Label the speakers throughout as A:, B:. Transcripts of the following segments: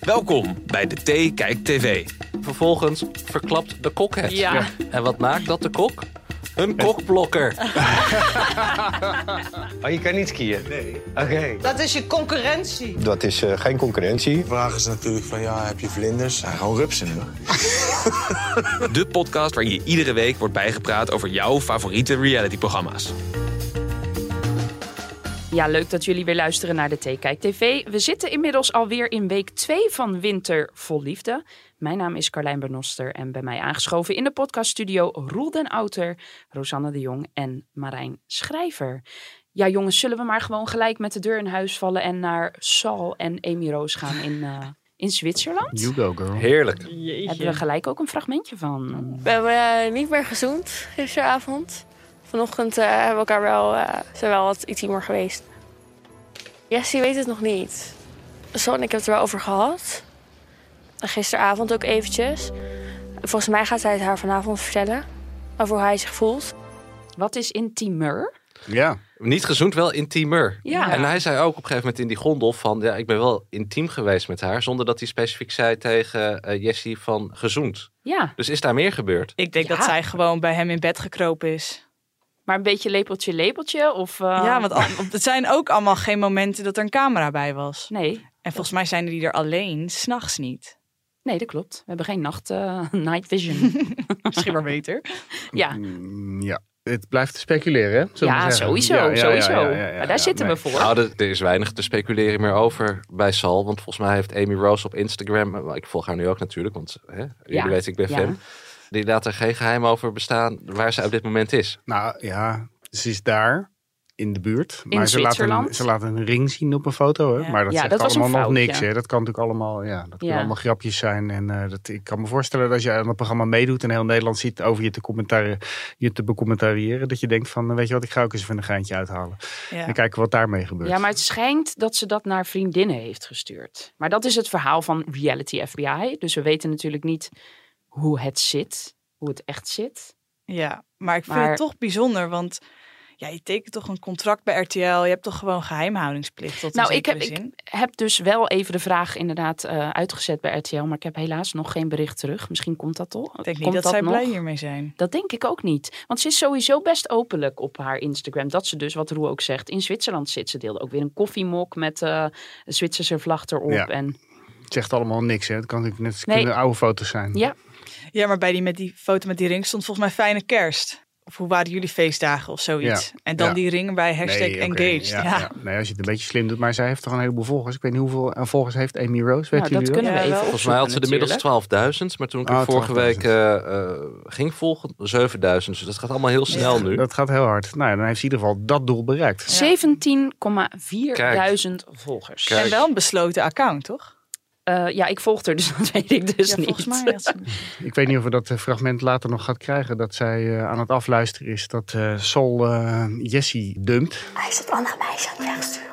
A: Welkom bij de Thee Kijk TV.
B: Vervolgens verklapt de kok het.
C: Ja. Ja.
B: En wat maakt dat de kok? Een kokblokker.
D: Oh, je kan niet skiën? Nee. Oké.
C: Dat is je concurrentie.
E: Dat is eh, geen concurrentie.
F: vraag is natuurlijk van ja, heb je vlinders? Ja, gewoon rupsen. hoor.
A: De podcast waarin je iedere week wordt bijgepraat over jouw favoriete realityprogramma's.
G: Ja, leuk dat jullie weer luisteren naar de Theekijk TV. We zitten inmiddels alweer in week 2 van Winter Vol Liefde. Mijn naam is Carlijn Bernoster en bij mij aangeschoven in de podcaststudio Roel den Outer, Rosanne de Jong en Marijn Schrijver. Ja, jongens, zullen we maar gewoon gelijk met de deur in huis vallen en naar Sal en Amy Roos gaan in, eh, in Zwitserland?
E: go, girl.
B: Heerlijk.
G: Hebben we gelijk ook een fragmentje van.
H: We hebben eh, niet meer gezoend gisteravond. Vanochtend eh, hebben we elkaar wel, eh, zijn wel wat intiemer geweest. Jessie weet het nog niet. Zo, en ik heb het er wel over gehad. En Gisteravond ook eventjes. Volgens mij gaat hij het haar vanavond vertellen. Over hoe hij zich voelt.
G: Wat is intiemer?
E: Ja.
B: Niet gezoend, wel intiemer.
G: Ja.
B: En hij zei ook op een gegeven moment in die gondel van... ja, ik ben wel intiem geweest met haar... zonder dat hij specifiek zei tegen eh, Jessie van gezoend.
G: Ja,
B: Dus is daar meer gebeurd?
I: Ik denk
G: Ja.
I: dat zij gewoon bij hem in bed gekropen is. Ehm,
G: maar een beetje lepeltje, lepeltje? Of, eh,
I: Ja, want al- het zijn ook allemaal geen momenten dat er een camera bij was.
G: Nee,
I: En volgens mij zijn die er alleen, s'nachts niet.
G: Nee, dat klopt. We hebben geen nacht, eh, night vision.
I: Misschien maar beter.
G: ja,
E: Mm, ja. Het blijft speculeren, hè? zullen we
G: ja
E: zeggen.
G: sowieso,
E: Ja, ja, ja,
G: sowieso.
E: ja, ja, ja,
G: maar daar
E: ja,
G: zitten
E: nee.
G: we voor.
B: Nou, er, er is weinig te speculeren meer over bij Sal. Want volgens mij heeft Amy Rose op Instagram... eh, ik volg haar nu ook natuurlijk, want hè,
G: Ja.
B: jullie weten ik ben
G: Ja.
B: fan. Die laat er geen geheim over bestaan waar ze op dit moment is.
E: Nou ja, ze is daar in de buurt. Maar ze laten,
G: Zwitserland.
E: een, ze laten een ring zien op een foto, hè?
I: Ja.
E: Maar dat
G: Ja,
E: zegt
G: dat was een
E: allemaal nog
G: foutje.
E: niks, hè? Dat kan natuurlijk allemaal, ja, dat kunnen
G: Ja.
E: allemaal grapjes zijn. En eh, dat, ik kan me voorstellen dat als je aan dat programma meedoet en heel Nederland ziet over je te, commentaren, je te becommentariëren, dat je denkt van, eh, weet je wat, ik ga ook eens even een geintje uithalen. En
I: Ja.
E: kijken wat daarmee gebeurt.
G: Ja, maar het schijnt dat ze dat naar vriendinnen heeft gestuurd. Maar dat is het verhaal van Reality FBI. Dus we weten natuurlijk niet hoe het zit, hoe het echt zit.
I: ja, maar ik vind
G: Maar-
I: het toch bijzonder, want ja, je tekent toch een contract bij RTL. Je hebt toch gewoon geheimhoudingsplicht tot
G: Nou,
I: een
G: ik heb-
I: zekere zin.
G: Heb dus wel even de vraag inderdaad eh, uitgezet bij RTL, maar ik heb helaas nog geen bericht terug. Misschien komt dat toch?
I: Ik denk niet
G: Komt
I: dat, zij
G: nog?
I: blij hiermee zijn.
G: Dat denk ik ook niet. Want ze is sowieso best openlijk op haar Instagram. Dat ze dus, wat Roe ook zegt, in Zwitserland zit. Ze deelde ook weer een koffiemok met eh, een Zwitserse vlag erop.
E: Ja.
G: En,
E: Het zegt allemaal niks, hè? Het kan natuurlijk net
G: Nee.
E: kunnen oude foto's zijn.
G: ja, nou,
I: Ja, maar bij die, met die foto met die ring stond volgens mij fijne kerst. Of hoe waren jullie feestdagen of zoiets.
E: Ja.
I: En dan
E: Ja.
I: die ring bij hashtag
E: Nee, oké,
I: engaged.
E: Ja,
I: Ja.
E: ja. Nee, als je het een beetje slim doet. Maar zij heeft toch een heleboel volgers. Ik weet niet hoeveel eh, volgers heeft Amy Rose. Weet
G: nou,
E: je
G: dat kunnen we
I: Ja,
G: even
I: wel.
B: Volgens mij had ze de
G: opzoeken
B: middels
G: natuurlijk.
B: 12.000, maar toen ik
E: Ah,
B: hem vorige
E: 12.000.
B: week eh, eh, ging volgen, 7.000. Dus dat gaat allemaal heel snel nu.
E: Dat gaat heel hard. Nou ja, dan heeft ze in ieder geval dat doel bereikt.
G: 17,4.000 volgers.
B: Kijk.
I: En wel een besloten account, toch?
G: Eh, ja, ik volg er, dus dat weet ik dus
I: ja,
G: niet.
I: volgens mij. had ze-
E: Ik weet niet of we dat eh, fragment later nog gaat krijgen. Dat zij eh, aan het afluisteren is. Dat eh Sol eh Jessie dumpt.
H: Hij is het andere meisje aan het wegsturen.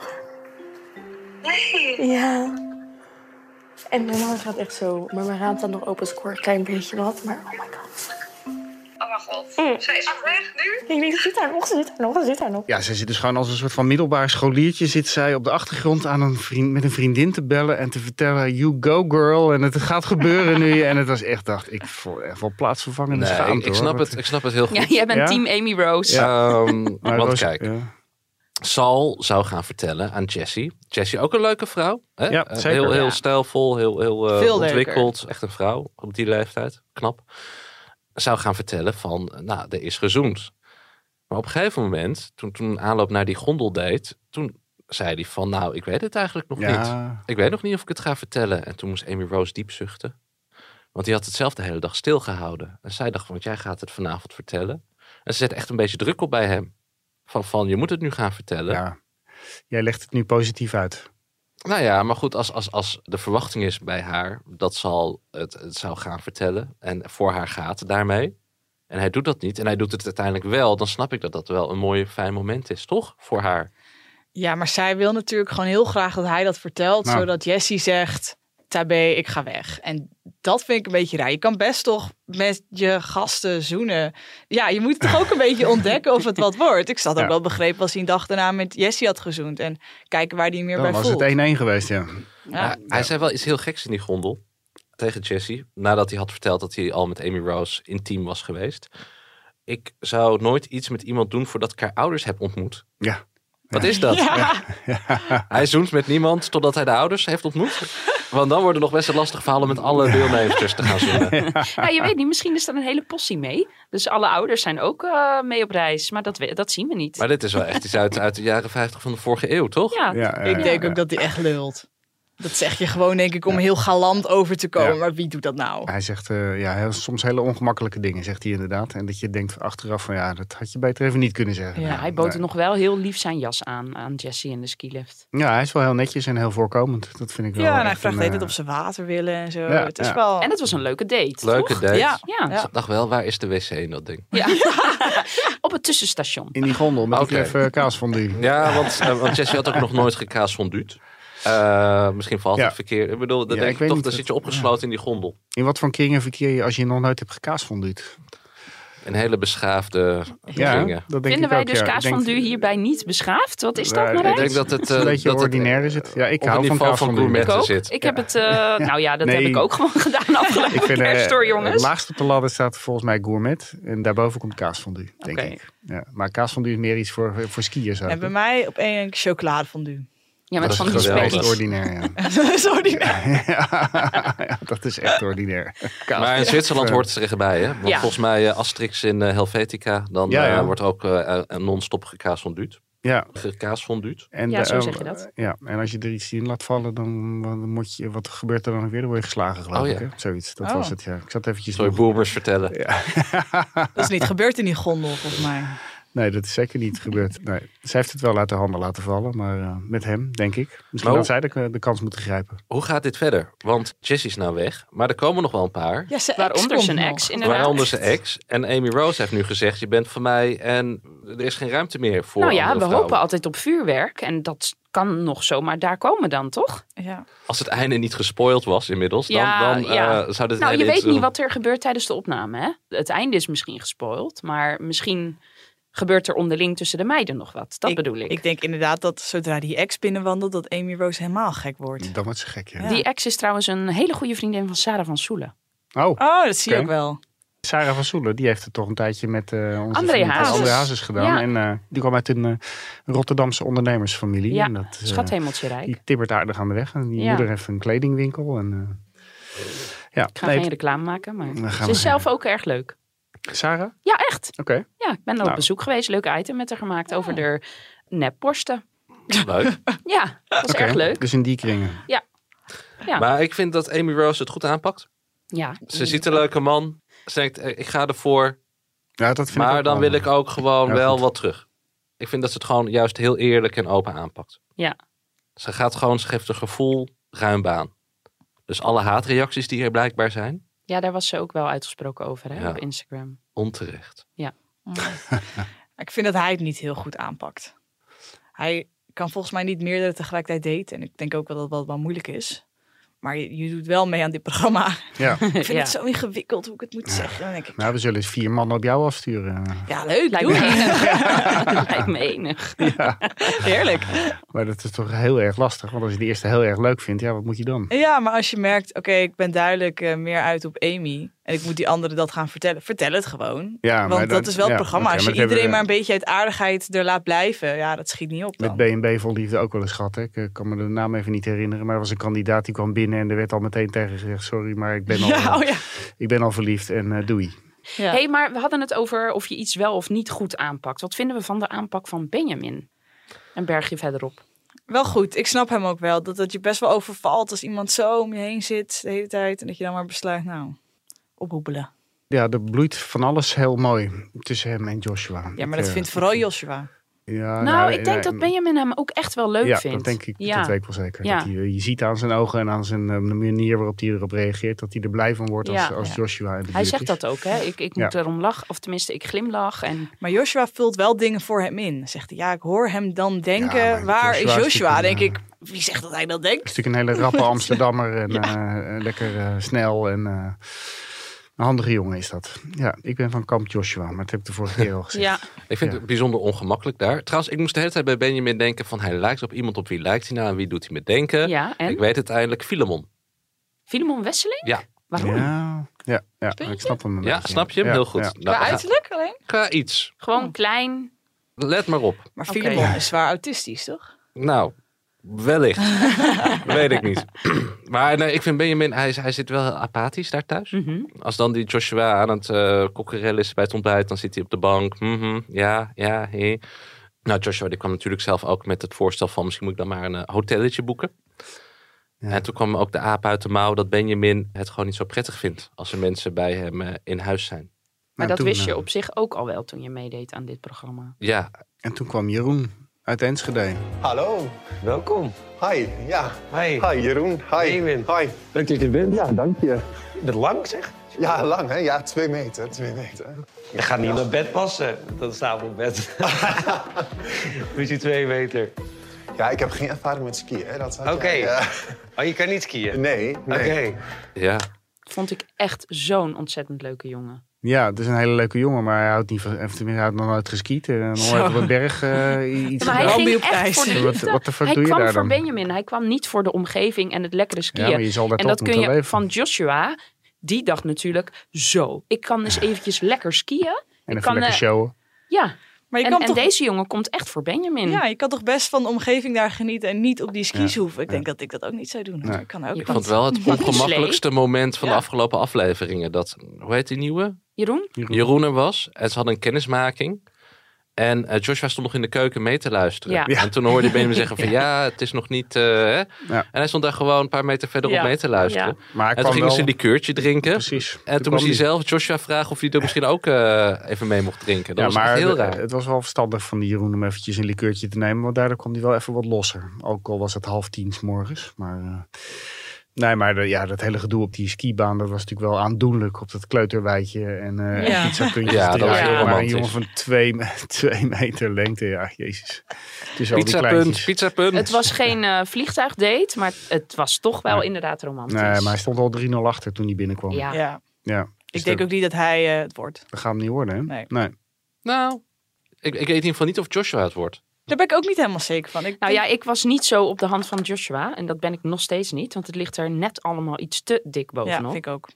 H: Nee! Ja. En mijn man gaat echt zo. Maar mijn raam staat nog open, dus ik hoor een klein beetje wat. Maar oh my god. Oh mijn god. Zij is weg nu? Ik denk, ze zit daar nog, ze zit daar nog, ze zit daar nog.
E: Ja, ze zit dus gewoon als een soort van middelbaar scholiertje. Zit zij op de achtergrond aan een vriend, met een vriendin te bellen. En te vertellen, you go girl. En het gaat gebeuren nu. En het was echt, dacht ik, voor, echt wel plaatsvervangende
B: Nee,
E: schaamte.
B: ik, ik
E: hoor.
B: snap
E: Wat-
B: het, ik snap het heel goed.
G: Ja, jij bent
E: Ja?
G: team Amy Rose.
B: Ehm,
E: Maar eh,
B: want
E: Rose-
B: kijk,
E: ja.
B: Sal zou gaan vertellen aan Jessie. Jessie ook een leuke vrouw. Hè?
E: Ja,
B: Eh,
E: zeker.
B: Heel, heel
E: Ja.
B: stijlvol, heel, heel eh,
I: Veel leuker.
B: ontwikkeld. Echt een vrouw op die leeftijd. Knap. Zou gaan vertellen van, nou, er is gezoend. Maar op een gegeven moment, toen, toen aanloop naar die gondeldate, toen zei hij van, nou, ik weet het eigenlijk nog niet.
E: ja.
B: Ik weet nog niet of ik het ga vertellen. En toen moest Amy Rose diep zuchten. Want die had het zelf de hele dag stilgehouden. En zij dacht, want jij gaat het vanavond vertellen. En ze zet echt een beetje druk op bij hem. Van, van je moet het nu gaan vertellen.
E: Ja. Jij legt het nu positief uit.
B: Nou ja, maar goed, als, als, als de verwachting is bij haar dat zal het, het zou gaan vertellen. En voor haar gaat daarmee. En hij doet dat niet. En hij doet het uiteindelijk wel. Dan snap ik dat dat wel een mooi, fijn moment is, toch? Voor haar.
I: Ja, maar zij wil natuurlijk gewoon heel graag dat hij dat vertelt.
E: Nou.
I: Zodat Jessie zegt, tabé, ik ga weg. En dat vind ik een beetje raar. Je kan best toch met je gasten zoenen. Ja, je moet toch ook een beetje ontdekken of het wat wordt. Ik zat ook
E: Ja.
I: wel begrepen als hij een dag daarna met Jessie had gezoend. En kijken waar hij meer
E: Dan
I: bij
E: was
I: voelt.
E: het 1-1 geweest, ja.
I: Ja.
B: Maar Hij zei wel iets heel geks in die gondel. Tegen Jesse. Nadat hij had verteld dat hij al met Amy Rose intiem was geweest. Ik zou nooit iets met iemand doen voordat ik haar ouders heb ontmoet.
E: Ja.
B: Wat is dat?
I: Ja.
B: Hij zoent met niemand totdat hij de ouders heeft ontmoet. Want dan worden nog best lastig verhalen met alle deelnemers dus te gaan zoenen.
G: Ja, je weet niet, misschien is er een hele possie mee. Dus alle ouders zijn ook eh, mee op reis, maar dat, we- dat zien we niet.
B: Maar dit is wel echt iets uit, uit de jaren 50 van de vorige eeuw, toch?
G: ja,
E: ja, eh,
I: Ik denk
E: ja.
I: ook dat hij echt lult. Dat zeg je gewoon, denk ik, om heel galant over te komen.
E: Ja.
I: Maar wie doet dat nou?
E: Hij zegt eh, ja, heel- soms hele ongemakkelijke dingen, zegt hij inderdaad. En dat je denkt achteraf van ja, dat had je beter even niet kunnen zeggen. Nou,
I: Ja,
G: Ja, hij bood
E: Nee.
G: nog wel heel lief zijn jas aan, aan Jesse in de skilift.
E: Ja, hij is wel heel netjes en heel voorkomend. Dat vind ik wel.
I: Ja, en hij
E: echt
I: vraagt
E: een,
I: de hele tijd
E: eh,
I: of ze water willen en zo.
E: Ja,
I: het is
E: ja.
I: wel...
G: En het was een leuke date,
B: Leuke
G: toch?
B: date.
I: Ja.
G: Ja,
I: Ja.
B: Ik dacht wel, waar is de wc in dat ding?
G: ja. op het tussenstation.
E: In die gondel met
B: Oké.
E: die klef eh, kaasfondue.
B: Ja, want, eh, want Jesse had ook nog nooit gekaas fonduut. Eh, misschien valt
E: Ja.
B: het verkeer. Ik bedoel, dan, denk
E: Ja, ik
B: ik
E: weet
B: toch, dan
E: niet wat-
B: zit je opgesloten in die gondel.
E: In wat voor kringen verkeer je als je nog nooit hebt gekaasfonduut?
B: Een hele beschaafde
E: Ja,
B: dingen.
E: dat denk
G: Vinden
E: ik
G: wij
E: ook,
G: dus
E: ja. Ik
G: kaas
E: denk-
G: van du hierbij niet beschaafd? Wat is
E: Nee,
G: dat,
B: Ik
G: Marijn?
B: denk dat het...
E: Een
B: eh,
E: beetje
B: dat het-
E: ordinair is het. Ja, ik
B: op
E: hou
B: het
E: van
B: niveau van
E: kaasfondue.
B: gourmet.
G: ik ook.
B: zit.
G: Ik heb het, eh, nou ja, dat heb
E: Nee.
G: ik ook gewoon gedaan de afgelopen
E: Ik vind eh,
G: kerst hoor, jongens.
E: eh, laagst op de ladder staat volgens mij gourmet. En daarboven komt kaasfondue, denk
G: Oké.
E: ik. Ja, maar kaasfondue is meer iets voor, voor skiers.
I: En bij mij op één chocoladefondue.
G: ja, met
B: dat
G: van
B: is
G: die
B: geweldig.
G: spekjes.
E: ordinair, ja.
I: Sorry.
E: ja, dat is echt ordinair. Kaas.
B: Maar in Zwitserland
E: Ja.
B: hoort het er echt bij, hè? Want
G: Ja.
B: volgens mij eh, Asterix in eh, Helvetica, dan
E: Ja,
B: eh,
E: ja.
B: wordt ook eh, een non-stop gekaas fonduut.
E: ja,
B: Gekaas fonduut.
E: en
G: Ja,
E: de-
G: zo
E: eh,
G: zeg je dat.
E: Ja, en als je er iets in laat vallen, dan wat- dan moet je, wat gebeurt er dan weer? Dan word je geslagen, geloof
B: Oh,
E: ik.
B: ja.
E: Hè? Zoiets, dat
I: Oh.
E: was het, ja. Ik zat eventjes...
B: Sorry,
E: nog-
B: boomers vertellen.
I: Dat is niet gebeurd in die gondel, volgens mij.
E: Nee, dat is zeker niet gebeurd. Nee. Zij heeft het wel uit de handen laten vallen, maar eh, met hem, denk ik. Misschien
B: Nou.
E: had zij de, de kans moeten grijpen.
B: Hoe gaat dit verder? Want Jessie is nou weg, maar er komen nog wel een paar.
I: Ja, zijn
G: Waaronder
I: komt
G: zijn
I: nog.
G: ex, inderdaad.
B: Waaronder zijn ex. En Amy Rose heeft nu gezegd, je bent van mij en er is geen ruimte meer voor
G: Nou ja, we
B: andere
G: hopen
B: vrouwen.
G: altijd op vuurwerk. En dat kan nog zo, maar daar komen we dan, toch?
I: Ja.
B: Als het einde niet gespoild was inmiddels, dan,
G: Ja,
B: dan eh,
G: ja.
B: zou dit
G: Nou, je
B: hele
G: weet niet
B: inter-
G: wat er gebeurt tijdens de opname, hè? Het einde is misschien gespoild, maar misschien gebeurt er onderling tussen de meiden nog wat. Dat bedoel ik.
I: Ik denk inderdaad dat zodra die ex binnenwandelt, dat Amy Rose helemaal gek
G: Mm.
I: wordt.
E: Dan wordt ze gek, ja.
I: Ja.
G: Die ex is trouwens een hele goede vriendin van Sarah van Soelen.
E: Oh,
I: Oh, dat zie je
E: Oké.
I: ook wel.
E: Sarah van Soelen, die heeft het toch een tijdje met eh onze
G: André
E: vriend, eh,
G: Hazes.
E: André Hazes gedaan.
G: Ja.
E: En eh, die kwam uit een eh, Rotterdamse ondernemersfamilie.
G: Ja,
E: en dat, eh,
G: Schathemeltje rijk.
E: die tibbert aardig aan de weg. En die
G: Ja.
E: moeder heeft een kledingwinkel. En, eh, ja,
G: Ik ga
E: nee,
G: geen reclame maken, maar
E: Dan gaan
G: ze
E: we
G: is zelf ook erg leuk.
E: Sarah?
G: Ja, echt.
E: Oké.
G: Ja, ik ben er
E: Nou.
G: op bezoek geweest. Leuk item met haar gemaakt over de nepborsten.
B: Leuk.
G: Ja, dat was
E: Oké,
G: erg leuk.
E: Dus in die kringen.
G: Ja.
B: Maar ik vind dat Amy Rose het goed aanpakt.
G: Ja.
B: Ze ziet een leuke man. Ze denkt, eh, ik ga ervoor.
E: Ja, dat vind
B: Maar
E: ik eh,
B: dan wil ik ook gewoon
E: Ja,
B: wel
E: goed.
B: wat terug. Ik vind dat ze het gewoon juist heel eerlijk en open aanpakt.
G: Ja.
B: Ze gaat gewoon, ze geeft een gevoel ruim baan. Dus alle haatreacties die er blijkbaar zijn,
G: ja, daar was ze ook wel uitgesproken over hè,
B: Ja.
G: op Instagram.
B: onterecht.
I: Ik vind dat hij het niet heel goed aanpakt. Hij kan volgens mij niet meerdere tegelijkertijd daten. En ik denk ook wel dat dat wel moeilijk is. Maar je, je doet wel mee aan dit programma.
E: Ja.
I: Ik vind
G: Ja.
I: het zo ingewikkeld hoe ik het moet zeggen. Dan denk ik,
E: Nou, we zullen eens vier mannen op jou afsturen.
I: ja, leuk.
G: Lijkt
I: Doe
G: me
I: het.
G: enig. Lijkt me enig.
I: Heerlijk.
E: Maar dat is toch heel erg lastig. Want als je de eerste heel erg leuk vindt, ja, wat moet je dan?
I: Ja, maar als je merkt, oké, ik ben duidelijk eh, meer uit op Amy. En ik moet die anderen dat gaan vertellen. Vertel het gewoon.
E: Ja, maar
I: Want dat,
E: dat-
I: is wel het
E: ja,
I: programma.
E: oké,
I: als
E: maar
I: je
E: dat hebben
I: iedereen
E: we-
I: maar een beetje uit aardigheid er laat blijven. Ja, dat schiet niet op dan.
E: Met BNB vol liefde ook wel eens gehad. Hè? Ik eh, kan me de naam even niet herinneren. Maar er was een kandidaat die kwam binnen en er werd al meteen tegen gezegd: Sorry, maar ik ben al,
I: Ja, oh ja.
E: ik ben al verliefd en eh, doei.
I: Ja.
G: hey, maar we hadden het over of je iets wel of niet goed aanpakt. Wat vinden we van de aanpak van Benjamin? Een bergje verderop.
I: Wel goed, ik snap hem ook wel. Dat dat je best wel overvalt als iemand zo om je heen zit de hele tijd. En dat je dan maar besluit, nou, ophoepelen.
E: Ja, er bloeit van alles heel mooi tussen hem en Joshua.
I: Ja, maar
E: Ik,
I: dat
E: eh,
I: vindt vooral Joshua.
E: Ja,
G: nou, ik
E: nee,
G: denk
E: nee,
G: dat Benjamin hem ook echt wel leuk
E: ja,
G: vindt.
E: dat denk ik,
G: Ja.
E: dat weet ik wel zeker.
G: Ja.
E: Dat hij, eh, je ziet aan zijn ogen en aan zijn eh, de manier waarop hij erop reageert, dat hij er blij van wordt
G: Ja.
E: als, als
I: Ja.
E: Joshua in de
G: Hij
E: buurt
G: zegt
E: is.
G: dat ook, hè? Ik, ik
E: Ja.
G: moet erom lachen, of tenminste, ik glimlach. En
I: Maar Joshua vult wel dingen voor hem in. Zegt hij, ja, ik hoor hem dan denken,
E: Ja, maar
I: waar
E: Joshua is
I: is Joshua?
E: natuurlijk
I: Denk
E: een, Nou,
I: ik, wie zegt dat hij dat denkt?
E: is natuurlijk een hele rappe Amsterdammer en eh, eh, lekker eh, snel en eh, een handige jongen is dat. Ja, ik ben van kamp Joshua, maar dat heb ik de vorige keer al gezegd.
G: ja,
B: Ik vind
E: Ja.
B: het bijzonder ongemakkelijk daar. Trouwens, ik moest de hele tijd bij Benjamin denken van... hij lijkt op iemand, op wie lijkt hij nou en wie doet hij me denken?
G: ja.
B: Ik
G: En
B: weet het eindelijk, Filemon.
G: Filemon Wesseling?
B: Ja.
G: Waarom?
E: Ja, ja, ja,
I: Puntje?
E: ik snap hem. een
B: Ja,
E: beetje.
B: snap je hem?
E: Ja,
B: Heel goed.
E: ja.
B: Nou,
I: Qua
B: ga-
I: uiterlijk alleen?
B: Ga iets.
G: Gewoon klein.
B: Let maar op.
I: Maar
G: Oké.
I: Filemon is zwaar autistisch, toch?
B: Nou, wellicht. Weet ik niet. Maar nee, ik vind Benjamin, hij, is- hij zit wel heel apathisch daar thuis.
G: Mhm.
B: Als dan die Joshua aan het eh kokkerellen is bij het ontbijt, dan zit hij op de bank. Mhm, ja, ja, hé. Nou, Joshua die kwam natuurlijk zelf ook met het voorstel van misschien moet ik dan maar een eh, hotelletje boeken.
E: Ja.
B: En toen kwam ook de aap uit de mouw dat Benjamin het gewoon niet zo prettig vindt als er mensen bij hem eh, in huis zijn.
G: Maar
E: Nou,
G: dat
E: toen,
G: wist je
E: eh,
G: op zich ook al wel toen je meedeed aan dit programma.
B: Ja,
E: En toen kwam Jeroen uit Enschede.
F: Hallo.
D: Welkom.
F: Hi. Ja.
D: Hi.
F: Hi Jeroen. Hi.
D: Benjamin.
F: Hi.
D: Leuk dat je er bent.
F: Ja, dank je.
D: Dat lang zeg.
F: Ja, lang hè? Ja, twee meter. Twee meter.
D: Dat gaat niet naar bed passen. Dat is namelijk bed. Moet je twee meter.
F: Ja, ik heb geen ervaring met skiën. Hè? Dat had jij,
D: Oké.
F: eh,
D: Oh, je kan niet skiën?
F: nee, nee.
D: Oké.
B: ja.
G: Vond ik echt zo'n ontzettend leuke jongen.
E: Ja, het is een hele leuke jongen, maar hij houdt niet van, of tenminste, hij had nog nooit geskiet. En dan
I: Zo.
E: op een berg eh, iets
G: Maar hij
E: gedaan.
I: Bambi
G: ging
I: op
G: echt
I: ijs.
G: voor de
E: Wat,
G: liefde.
E: wat de fuck
G: Hij
E: doe je
G: kwam
E: daar
G: voor
E: dan?
G: Benjamin. Hij kwam niet voor de omgeving en het lekkere
E: ja,
G: skiën.
E: maar je zal daar
G: en
E: toch
G: dat kun je
E: moeten leven.
G: van Joshua. Die dacht natuurlijk zo. Ik kan eens eventjes lekker skiën.
E: en even
G: kan,
E: lekker
G: eh,
E: showen.
G: Ja,
I: Maar je
G: en,
I: kan
G: en
I: toch...
G: deze jongen komt echt voor Benjamin.
I: Ja, je kan toch best van de omgeving daar genieten en niet op die skis hoeven. Ik denk dat ik dat ook niet zou doen. hoor.
E: Nee.
I: Ik kan ook
G: Je
I: niet.
B: Ik vond wel het ongemakkelijkste moment van de
G: Ja.
B: afgelopen afleveringen. Dat, hoe heet die nieuwe?
G: Jeroen?
B: Jeroen er was en ze hadden een kennismaking. En eh, Joshua stond nog in de keuken mee te luisteren.
G: Ja.
E: Ja.
B: En toen hoorde je Benjamin zeggen van ja, het is nog niet... eh, hè. En hij stond daar gewoon een paar meter verderop
G: Ja.
B: mee te luisteren.
G: Ja.
E: Maar hij
B: En
E: kwam
B: toen gingen
E: wel...
B: ze een likeurtje drinken.
E: Precies.
B: En toen,
E: kwam
B: moest hij
E: die.
B: zelf Joshua vragen of hij er misschien ook eh, even mee mocht drinken. Dat was echt heel
E: de- eh,
B: raar.
E: het was wel verstandig van die Jeroen om eventjes een likeurtje te nemen. Want daardoor kwam hij wel even wat losser. Ook al was het half tien 's morgens. Maar, eh, nee, maar de- ja, dat hele gedoe op die skibaan, dat was natuurlijk wel aandoenlijk. Op dat kleuterwijtje en eh
I: Ja.
E: ja. pizzapuntjes
B: Ja, dat
E: erin.
G: was heel
E: Maar een
B: romantisch.
E: jongen van twee, me- twee meter lengte, ja, jezus. Het is al die
B: Pizza punt,
E: kleintjes.
B: pizza punt.
G: Het was geen eh, vliegtuigdate, maar het was toch wel
E: Nee.
G: inderdaad romantisch.
E: Nee, maar hij stond al 3-0 achter toen hij binnenkwam.
G: Ja.
I: Ja,
E: Ja,
I: ik
E: Dus
I: denk
E: dat-
I: ook niet dat hij eh, het wordt.
E: Dat gaat hem niet worden, hè?
I: Nee.
B: Nou, ik, ik weet in ieder geval niet of Joshua het wordt.
I: Daar ben ik ook niet helemaal zeker van. Ik
G: Nou
I: denk-
G: ja, ik was niet zo op de hand van Joshua. En dat ben ik nog steeds niet, want het ligt er net allemaal iets te dik
I: ja,
G: bovenop.
I: vind ik ook.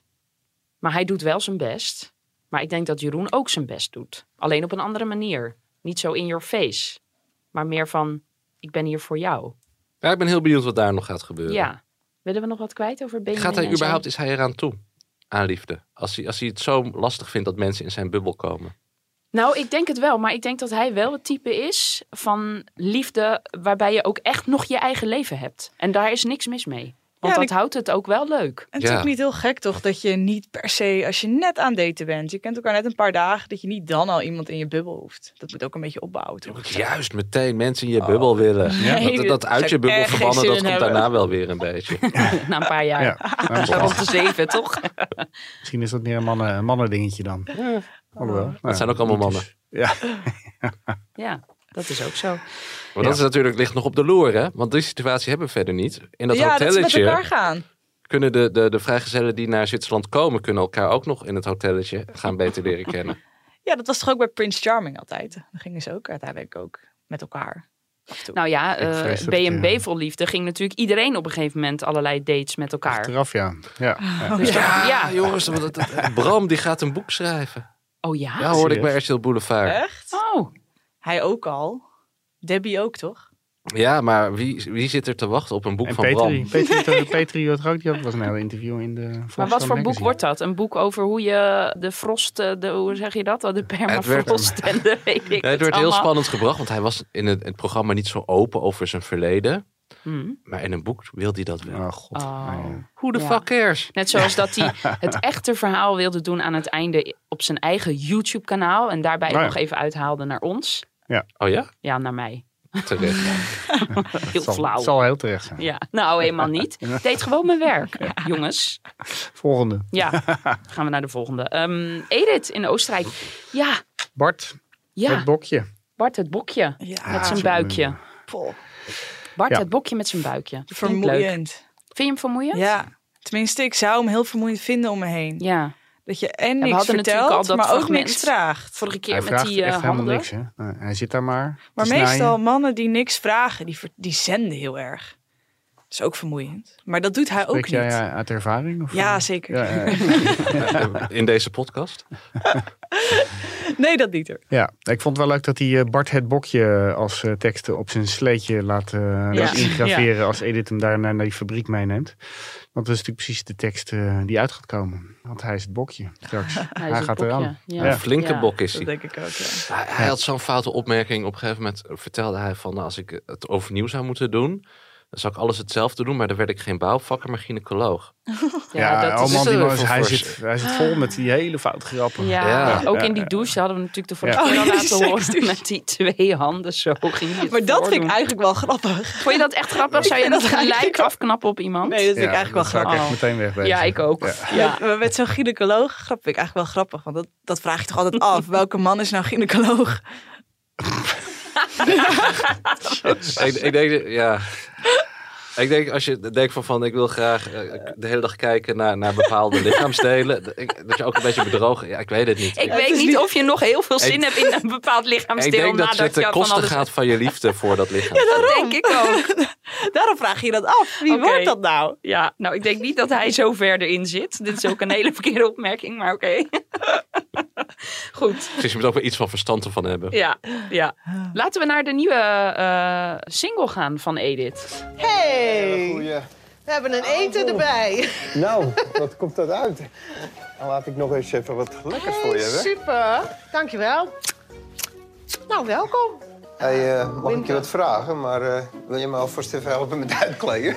G: Maar hij doet wel zijn best. Maar ik denk dat Jeroen ook zijn best doet. Alleen op een andere manier. Niet zo in your face. Maar meer van, ik ben hier voor jou.
B: Ja, ik ben heel benieuwd wat daar nog gaat gebeuren.
G: Ja. Willen we nog wat kwijt over Benjamin?
B: Gaat hij
G: en zijn-
B: überhaupt, is hij eraan toe? Aan liefde. Als hij, als hij het zo lastig vindt dat mensen in zijn bubbel komen.
G: Nou, ik denk het wel. Maar ik denk dat hij wel het type is van liefde... waarbij je ook echt nog je eigen leven hebt. En daar is niks mis mee. Want
I: en
G: dat
I: ik-
G: houdt het ook wel leuk.
I: En het
B: Ja.
I: is ook niet heel gek toch dat je niet per se, als je net aan het daten bent, je kent elkaar net een paar dagen, dat je niet dan al iemand in je bubbel hoeft. Dat moet ook een beetje opbouwen
B: Je
I: toch?
B: moet juist meteen mensen
I: Oh.
B: in je bubbel willen. dat, dat uit je bubbel
I: echt geen
B: verbannen,
I: zin
B: dat
I: in
B: komt
I: hebben.
B: daarna wel weer een beetje.
G: Na een paar jaar.
E: Ja. Nou,
G: Zo Rond de zeven, toch?
E: misschien is dat meer een mannen, een mannen dingetje dan. Alhoewel, nou ja,
B: Dat zijn ook allemaal
E: dat
B: mannen.
E: is- Ja,
G: Ja, dat is ook zo.
B: Maar dat is natuurlijk, ligt nog op de loer, hè? Want die situatie hebben we verder niet. In dat
I: ja, dat ze met
B: hotelletje
I: elkaar gaan.
B: kunnen de, de, de vrijgezellen die naar Zwitserland komen... kunnen elkaar ook nog in het hotelletje gaan beter leren kennen.
I: Ja, dat was toch ook bij Prince Charming altijd. Dan gingen ze ook uiteindelijk ook met elkaar. af en toe.
G: Nou ja,
E: Ik
G: eh,
E: vrees dat,
G: B&B
E: ja.
G: vol liefde ging natuurlijk iedereen op een gegeven moment allerlei dates met elkaar.
E: achteraf ja. ja. ja.
G: Dus
B: Ja,
G: dat- ja.
B: jongens. want het- het- Bram, die gaat een boek schrijven.
G: Oh ja?
B: Ja, hoorde ik
E: serieus?
B: bij RTL Boulevard.
I: Echt?
G: Oh,
I: Hij ook al. Debbie ook toch?
B: Ja, maar wie, wie zit er te wachten op een boek
E: En
B: van
E: Petri,
B: Bram?
E: Petri, Petri, Petri had er ook, die had, was een hele interview in de Volkskrant
G: maar wat voor boek
E: magazine.
G: wordt dat? Een boek over hoe je de frost, eh, de, hoe zeg je dat? De permafrost en de weet ik
B: Ja, het werd heel
G: allemaal.
B: spannend gebracht, want hij was in het, het programma niet zo open over zijn verleden.
G: Hmm.
B: Maar in een boek wil hij dat wel.
E: Oh god.
G: Oh.
E: Ah, ja.
B: Who the
G: Ja.
B: fuck cares?
G: Net zoals dat hij het echte verhaal wilde doen aan het einde op zijn eigen YouTube-kanaal. En daarbij
E: Nou ja.
G: nog even uithaalde naar ons.
B: Oh ja?
G: Ja, naar mij.
B: Terecht.
G: Heel
E: zal,
G: flauw.
E: zal heel terecht zijn.
G: Ja, nou helemaal niet. Ik deed gewoon mijn werk, jongens.
E: Volgende.
G: Ja, gaan we naar de volgende. Ehm, Edith in Oostenrijk. Ja,
E: Bart,
G: ja.
E: het bokje.
G: Bart het bokje
I: Ja,
G: met zijn buikje.
I: poh,
G: Bart
E: Ja.
G: het bokje met zijn buikje. Vind je het leuk?
I: vermoeiend.
G: Vind je hem vermoeiend?
I: Ja, tenminste, ik zou hem heel vermoeiend vinden om me heen.
G: Ja.
I: Dat je en
G: we
I: niks
G: hadden natuurlijk
I: vertelt,
G: al dat
I: maar
G: fragment.
I: ook niks vraagt.
G: Vorige keer
E: Hij
G: met
E: vraagt
G: die eh,
E: echt helemaal
G: handen.
E: niks. Hè? Nee, hij zit daar maar.
I: Maar
E: te snijden.
I: meestal mannen die niks vragen, die, ver- die zenden heel erg. Dat is ook vermoeiend. Maar dat doet hij ook
E: Spreek
I: niet.
E: jij
I: Ja,
E: eh, uit ervaring? Of
I: zeker.
E: Ja, eh, ja, ja.
B: Eh, In deze podcast?
I: Nee, dat niet er.
E: Ja, ik vond het wel leuk dat hij eh, Bart het Bokje als eh, teksten op zijn sleetje laat, eh, laat ingraveren. Als Edith hem daarna naar die fabriek meeneemt. Want dat is natuurlijk precies de tekst eh, die uit gaat komen. Want hij is het bokje straks.
G: Hij
E: hij
G: is het
E: gaat
G: bokje.
E: eraan.
G: Ja.
B: Een flinke
G: Ja.
B: bok is
I: Dat
B: hij.
I: denk ik ook, ja.
B: Hij, hij had zo'n foute opmerking. Op een gegeven moment vertelde hij van... Nou, als ik het overnieuw zou moeten doen... dan zou ik alles hetzelfde doen... maar dan werd ik geen bouwvakker, maar gynaecoloog.
G: Ja, dat is-
E: oh
B: is
E: man, die
B: er
E: man is-
B: voor
E: hij,
B: voor-
E: zit, hij zit vol met die hele foute grappen.
G: Ja,
B: Ja.
G: ook in die douche hadden we natuurlijk de vorige
E: Ja.
G: keer al
I: Oh, ja, die
G: laten horen.
I: seksdouche.
G: Met die twee handen zo ging hij het
I: Maar dat vind
G: voordoen.
I: ik eigenlijk wel grappig.
G: Vond je dat echt grappig? Of
I: Ik
G: zou je
I: vind
G: dat
I: dat
G: gelijk
I: eigenlijk wel-
G: afknappen op iemand?
I: Nee, dat vind
E: Ja,
I: ik eigenlijk wel
E: dat zou
I: grappig.
E: ik echt meteen wegwezen.
G: ja, ik ook.
E: Ja.
G: Ja.
I: Met, met zo'n gynaecoloog grap vind ik eigenlijk wel grappig. Want dat, dat vraag je toch altijd af. Welke man is nou gynaecoloog?
B: ik, ik denk... Ja... Ik denk, als je denkt van, van ik wil graag eh, de hele dag kijken naar, naar bepaalde lichaamsdelen, dat ik- dat je ook een beetje bedrogen... Ja, ik weet het niet.
G: Ik
I: het
G: weet
I: is
G: niet,
I: niet-
G: of je nog heel veel zin
B: Ik-
G: hebt in een bepaald lichaamsdeel.
B: Ik denk dat
G: nadat
B: het ten
G: je van
B: koste
G: alles...
B: gaat van je liefde voor dat lichaam.
G: Dat denk ik ook.
I: Daarom vraag je dat af. Wie
G: Oké.
I: wordt dat nou?
G: Ja, nou, ik denk niet dat hij zo ver erin zit. Dit is ook een hele verkeerde opmerking, maar oké. Goed,
B: Precies, Dus je moet ook wel iets van verstand ervan hebben.
G: ja, ja. Laten we naar de nieuwe eh, single gaan van Edith.
C: Hey,
F: Goeie.
C: we hebben een eten erbij.
F: Nou, wat komt dat uit? Dan laat ik nog eens even wat lekkers voor je hebben.
C: Super, dankjewel. Nou, welkom.
F: Hey, eh, mag ik je wat vragen, maar eh, wil je me alvast even helpen met uitkleden?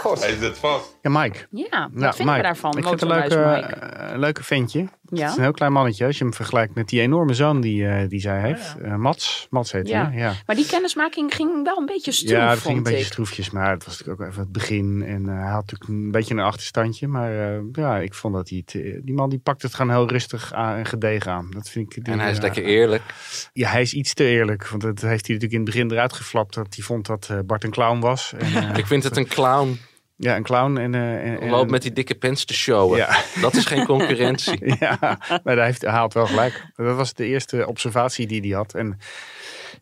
F: God.
J: Hij zit vast.
E: Ja, Mike.
G: Ja, wat vinden
E: Nou, Mike,
G: we daarvan?
E: Ik vind het een
G: Motorhuis
E: leuke,
G: Mike?
E: eh, leuke ventje. Het is een
G: Ja.
E: heel klein mannetje als je hem vergelijkt met die enorme zoon die, eh, die zij heeft. Eh, Mats. Mats heet
G: Oh, Ja.
E: hij. hè? Ja.
G: Maar die kennismaking ging wel een beetje stroef,
E: ja, dat
G: vond
E: ging een beetje
G: ik.
E: stroefjes, maar het was natuurlijk ook even het begin. En eh, hij had natuurlijk een beetje een achterstandje. Maar eh, ja, ik vond dat hij het, eh, die man die pakt het gewoon heel rustig aan en gedegen aan. Dat vind ik. die-
B: En hij is
E: ja.
B: lekker eerlijk.
E: Ja, hij is iets te eerlijk. Want dat heeft hij natuurlijk in het begin eruit geflapt. Dat hij vond dat eh, Bart een clown was. En, eh,
B: Ik vind het een clown.
E: ja, een clown. En, eh, en, en-
B: Loopt met die dikke pens te showen.
E: Ja.
B: Dat is geen concurrentie.
E: Ja, maar daar heeft, hij haalt wel gelijk. Dat was de eerste observatie die hij had. En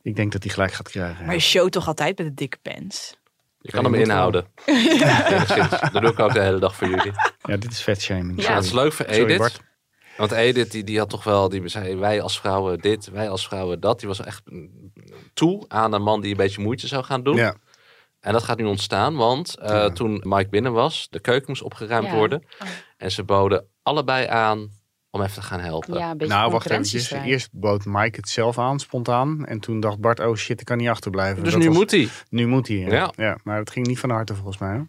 E: ik denk dat hij gelijk gaat krijgen.
I: Maar je show toch altijd met een dikke pens?
B: Je kan hem inhouden. Enigszins. Dat doe ik ook de hele dag voor jullie.
E: Ja, dit is vetshaming.
B: Ja,
E: shaming.
B: het is leuk voor
E: Sorry,
B: Edith.
E: Bart.
B: Want Edith die, die had toch wel, die zei wij als vrouwen dit, wij als vrouwen dat. Die was echt mm, toe aan een man die een beetje moeite zou gaan doen.
E: Ja,
B: En dat gaat nu ontstaan, want eh,
E: Ja.
B: toen Mike binnen was, de keuken moest opgeruimd
G: Ja. Oh.
B: worden. En ze boden allebei aan om even te gaan helpen.
G: Ja, een beetje
E: nou wacht
G: concurrentie
E: eventjes.
G: strijd.
E: Eerst bood Mike het zelf aan, spontaan. En toen dacht Bart, oh shit, ik kan niet achterblijven.
B: Dus
E: Dat
B: nu
E: was-
B: moet hij.
E: Nu moet hij, ja.
B: Ja.
E: Ja. Maar het ging niet van harte volgens mij. Hoor.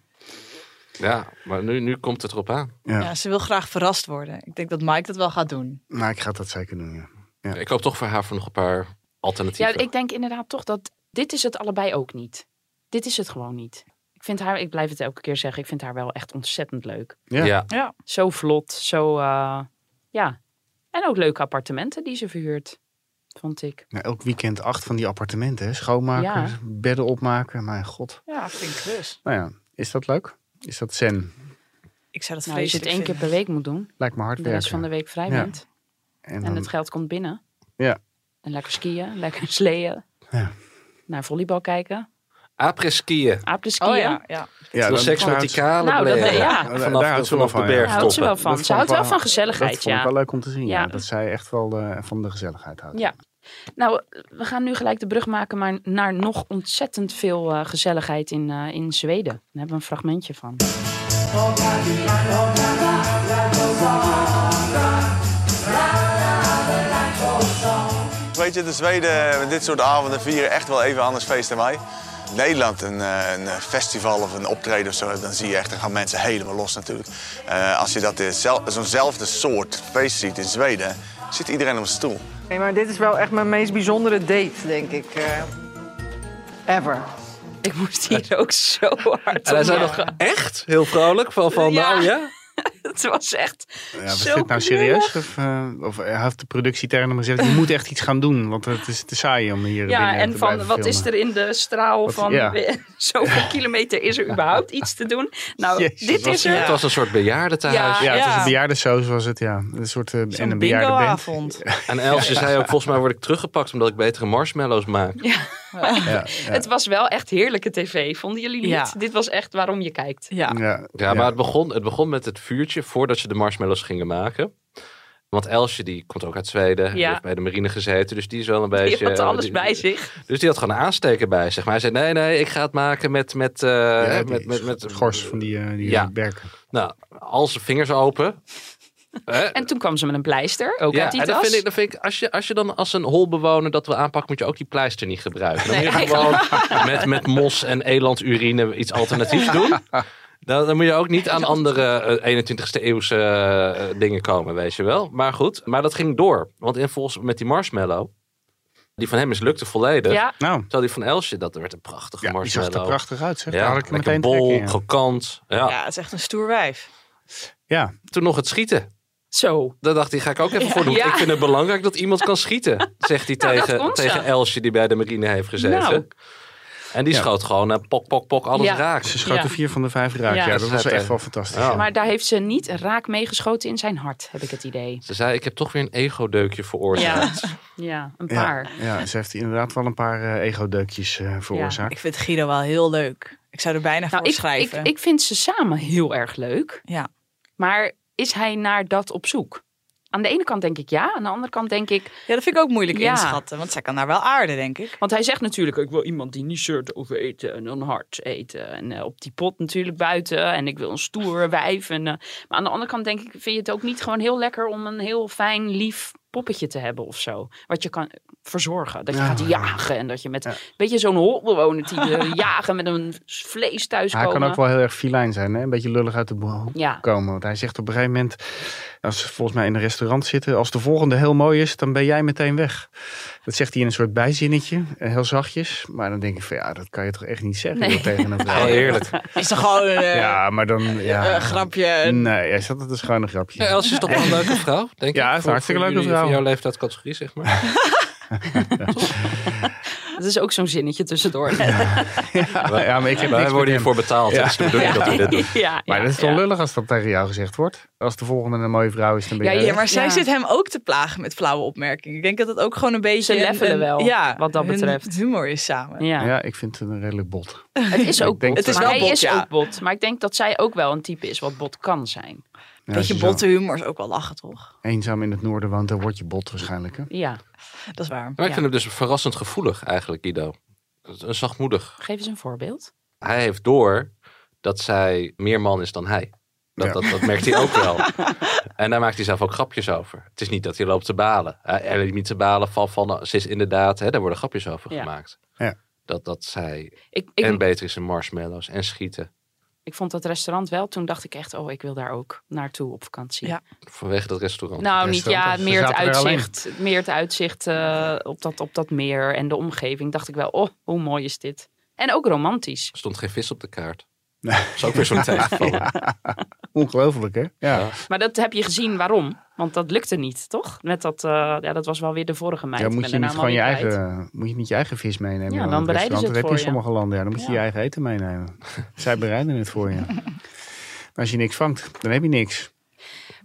B: Ja, maar nu, nu komt het erop aan.
E: Ja.
I: Ja, ze wil graag verrast worden. Ik denk dat Mike dat wel gaat doen.
E: Maar Nou, ik ga dat zeker doen, ja. Ja.
B: Ik hoop toch voor haar voor nog een paar
G: Ja,
B: alternatieven.
G: ik denk inderdaad toch dat dit is het allebei ook niet. Dit is het gewoon niet. Ik vind haar, ik blijf het elke keer zeggen, ik vind haar wel echt ontzettend leuk.
E: Ja.
B: Ja.
I: Ja.
G: Zo vlot, zo eh, ja. En ook leuke appartementen die ze verhuurt, vond ik.
E: Nou, elk weekend acht van die appartementen. Hè? Schoonmaken,
G: Ja.
E: bedden opmaken. Mijn god.
I: Ja, flink klus.
E: Nou ja, is dat leuk? Is dat zen?
I: Ik zou dat
G: Nou, als je het
I: vreselijk
G: één keer per week moet doen,
E: Lijkt me hard
G: de rest van de
E: werken.
G: week vrij
E: Ja.
G: bent
E: En
G: en
E: dan-
G: het geld komt binnen.
E: Ja.
G: En lekker skiën, lekker sleeën.
E: Ja.
G: Naar volleybal kijken,
B: Après-skiën.
G: apres-skiën.
I: Oh ja, ja.
E: ja,
B: Nog
E: dan-
B: seks met
E: houdt-
B: die kale
G: Nou, dat-
B: blaren.
G: ja.
E: Daar
B: Vanaf,
E: houdt ze wel
B: vanaf de
E: van, ja.
G: Daar houdt ze
B: bergtoppen.
G: wel van.
E: Dat
G: Ze
E: vond
G: houdt
E: ik
G: wel
E: wel-
G: van
E: Dat
G: gezelligheid,
E: vond ik
G: ja.
E: wel leuk om te zien. Ja.
G: Ja.
E: Dat zij echt wel eh, van de gezelligheid houdt.
G: Ja. Nou, we gaan nu gelijk de brug maken maar naar nog ontzettend veel eh, gezelligheid in, eh, in Zweden. Daar hebben we een fragmentje van.
J: Weet je, de Zweden met dit soort avonden vieren echt wel even anders feest dan wij. In Nederland, een, eh, een festival of een optreden of zo, dan zie je echt, dan gaan mensen helemaal los natuurlijk. Eh, als je dat, eh, zel- zo'nzelfde soort feest ziet in Zweden, zit iedereen op zijn stoel.
K: Nee, maar dit is wel echt mijn meest bijzondere date, denk ik. eh, ever.
G: Ik moest hier ook zo hard
B: En hij zei nog echt heel vrolijk van, van
G: Ja.
B: nou ja.
G: Het was echt
E: Ja, was
G: zo
E: dit nou serieus? Of, eh, of heeft de productie tegen hem gezegd, je moet echt iets gaan doen. Want het is te saai om hier
G: Ja,
E: binnen
G: en
E: te
G: van
E: blijven
G: wat is
E: filmen.
G: er in de straal
E: Wat-
G: van
E: ja.
G: zoveel kilometer is er überhaupt iets te doen? Nou, dit is er.
B: Het was een soort bejaardentehuis.
E: Ja, het was een bejaardensoos was het, ja. Een soort, eh, en een bejaardenband.
B: En Elsje zei ook, volgens mij word ik teruggepakt omdat ik betere marshmallows maak.
E: Ja,
G: Het was wel echt heerlijke tv, vonden jullie niet?
B: Ja.
G: Dit was echt waarom je kijkt.
E: Ja,
B: maar Het, begon, het begon met het vuurtje voordat ze de marshmallows gingen maken. Want Elsje, die komt ook uit Zweden. Die
G: Ja.
B: heeft bij de marine gezeten, dus die is wel een
G: Je
B: beetje...
G: had alles
B: die-
G: bij zich.
B: Dus die had gewoon een aansteker bij zich. Maar hij zei, nee, nee, ik ga het maken met... met, eh,
E: die
B: met, met, met
E: schors van die, eh, die
B: Ja.
E: berken.
B: Nou, al zijn vingers open.
G: En toen kwam ze met een pleister, ook uit die
B: en dat
G: tas.
B: vind ik, dat vind ik als, je, als je dan als een holbewoner dat wil aanpakken, moet je ook die pleister niet gebruiken. Dan
G: Nee,
B: moet je gewoon met, met mos en elandurine iets alternatiefs doen. Dan, dan moet je ook niet aan andere eh, 21ste eeuwse eh, dingen komen, weet je wel. Maar goed, maar dat ging door. Want in volgens met die marshmallow, die van hem mislukte volledig.
G: Ja.
E: Nou.
B: Terwijl die van Elsje, dat werd een prachtige
E: die zag
B: marshmallow.
E: er prachtig uit, zeg. Daar
B: Ja,
E: had ik er
B: lekker
E: meteen trek
B: bol,
E: in, ja.
B: krokant. Ja.
I: Ja, het is echt een stoer wijf.
E: Ja.
B: Toen nog het schieten.
G: Zo.
B: Daar dacht hij, ga ik ook even
I: Ja.
B: voor doen.
I: Ja.
B: Ik vind het belangrijk dat iemand kan schieten. Zegt hij
I: Nou, dat
B: tegen,
I: kon ze.
B: tegen Elsje die bij de marine heeft gezeten.
I: Nou.
B: En die schoot gewoon eh, pok, pok, pok, alles
G: Ja.
B: raak.
G: Ze schoten Ja.
E: dus vier van de vijf raak.
G: Ja.
E: Ja, dat was
B: Zetten.
E: echt wel fantastisch.
B: Ja.
G: Maar daar heeft ze niet raak meegeschoten in zijn hart, heb ik het idee.
B: Ze zei, ik heb toch weer een ego-deukje
G: Ja,
B: veroorzaakt.
G: ja een
E: Ja,
G: paar. Nou,
E: Ja, ze heeft inderdaad wel een paar eh, ego-deukjes eh, veroorzaakt.
I: Ik vind Guido wel heel leuk. Ik zou er bijna
G: Nou,
I: voor
G: ik, ik,
I: schrijven.
G: ik vind ze samen heel erg leuk.
I: Ja.
G: Maar is hij naar dat op zoek? Aan de ene kant denk ik ja, aan de andere kant denk ik...
I: Ja, dat vind ik ook moeilijk
G: Ja.
I: inschatten, want zij kan daar wel aarden, denk ik.
G: Want hij zegt natuurlijk, ik wil iemand die niet shirt over eten en een hart eten. En eh, op die pot natuurlijk buiten. En ik wil een stoer wijf. En, eh, maar aan de andere kant denk ik, vind je het ook niet gewoon heel lekker om een heel fijn, lief poppetje te hebben of zo. Wat je kan verzorgen. Dat je
E: Ja.
G: gaat jagen en dat je met een beetje zo'n holbewoner die eh, jagen met een vlees thuiskomen.
E: Hij kan ook wel heel erg filijn zijn, hè? een beetje lullig uit de bo- hoek
G: Ja.
E: komen. Want hij zegt op een gegeven moment, als ze volgens mij in een restaurant zitten, als de volgende heel mooi is, dan ben jij meteen weg. Dat zegt hij in een soort bijzinnetje, eh, heel zachtjes. Maar dan denk ik van ja, dat kan je toch echt niet zeggen
I: Nee.
E: joh, tegen een vrouw.
B: Heel eerlijk.
I: Is toch gewoon een eh,
E: Ja, maar dan... Ja.
I: eh, grapje. en-
E: Nee, hij zat het een schone grapje.
B: Ja, Eh, Elsje is toch wel een leuke vrouw, denk
E: Ja,
B: ik.
E: is een
B: voor-
E: hartstikke
B: voor
E: leuke
B: jullie-
E: vrouw.
B: Voor jouw leeftijdscategorie, zeg maar.
G: Dat is ook zo'n zinnetje tussendoor.
E: Ja, ja, maar ik heb
B: Wij worden
E: niks met
B: hiervoor
E: hem.
B: betaald, hè, dus de bedoeling dat we dit doen.
G: Ja,
E: Maar
G: ja,
E: dat is toch
G: ja.
E: lullig als dat tegen jou gezegd wordt? Als de volgende een mooie vrouw is, dan ben
I: Ja,
E: jij
I: ja,
E: weg.
I: maar zij
G: Ja.
I: zit hem ook te plagen met flauwe opmerkingen. Ik denk dat het ook gewoon een beetje...
G: Ze levelen
I: een- een-
G: wel,
I: ja,
G: wat dat
I: hun
G: betreft.
I: humor is samen.
G: Ja.
E: Ja. ik vind het een redelijk bot.
G: Het is ook bot.
E: Ik denk dat-
I: Het is
G: maar
I: wel
G: hij
I: bot,
G: is
I: ja.
G: ook bot. Maar ik denk dat zij ook wel een type is wat bot kan zijn.
E: Ja, als
I: beetje
E: je zo
I: botte humor is ook wel lachen, toch?
E: eenzaam in het noorden woont, dan word je bot waarschijnlijk. Hè?
G: Ja.
I: Dat is waar.
B: Maar ik
I: Ja.
B: vind hem dus verrassend gevoelig eigenlijk, Guido. Een zachtmoedig.
G: Geef eens een voorbeeld.
B: hij heeft door dat zij meer man is dan hij. Dat,
E: Ja.
B: dat, dat merkt hij ook wel. En daar maakt hij zelf ook grapjes over. Het is niet dat hij loopt te balen. Hij hij loopt niet te balen van, van ze is inderdaad, hè, daar worden grapjes over
G: Ja.
B: gemaakt.
E: Ja.
B: Dat, dat zij
G: Ik, ik,
B: en beter is in marshmallows en schieten.
G: ik vond dat restaurant wel. Toen dacht ik echt, oh, ik wil daar ook naartoe op vakantie.
I: Ja.
B: Vanwege dat restaurant.
G: Nou, niet ja,
E: Restaurant, ze
G: meer het,
E: zaten er alleen.
G: uitzicht, meer het uitzicht eh, op, dat, op dat meer en de omgeving. Dacht ik wel, oh, hoe mooi is dit. En ook romantisch.
B: Er stond geen vis op de kaart. Dat is ook weer zo'n tegenvaller.
E: Ongelooflijk, hè? Ja.
B: Ja.
G: Maar dat heb je gezien waarom. Want dat lukte niet, toch? Met dat, eh, ja, dat was wel weer de vorige meid.
E: Ja,
G: Ik
E: moet
G: ben nou
E: je
G: de
E: niet
G: naam
E: gewoon je
G: alweer kwijt.
E: eigen, moet je niet je eigen vis meenemen?
G: Ja,
E: aan
G: dan
E: het
G: bereiden ze
E: restaurant?
G: het
E: Dat heb je
G: voor
E: in
G: je.
E: sommige landen. Ja, dan moet je
G: Ja.
E: je eigen eten meenemen. Zij bereiden het voor je. Maar als je niks vangt, dan heb je niks.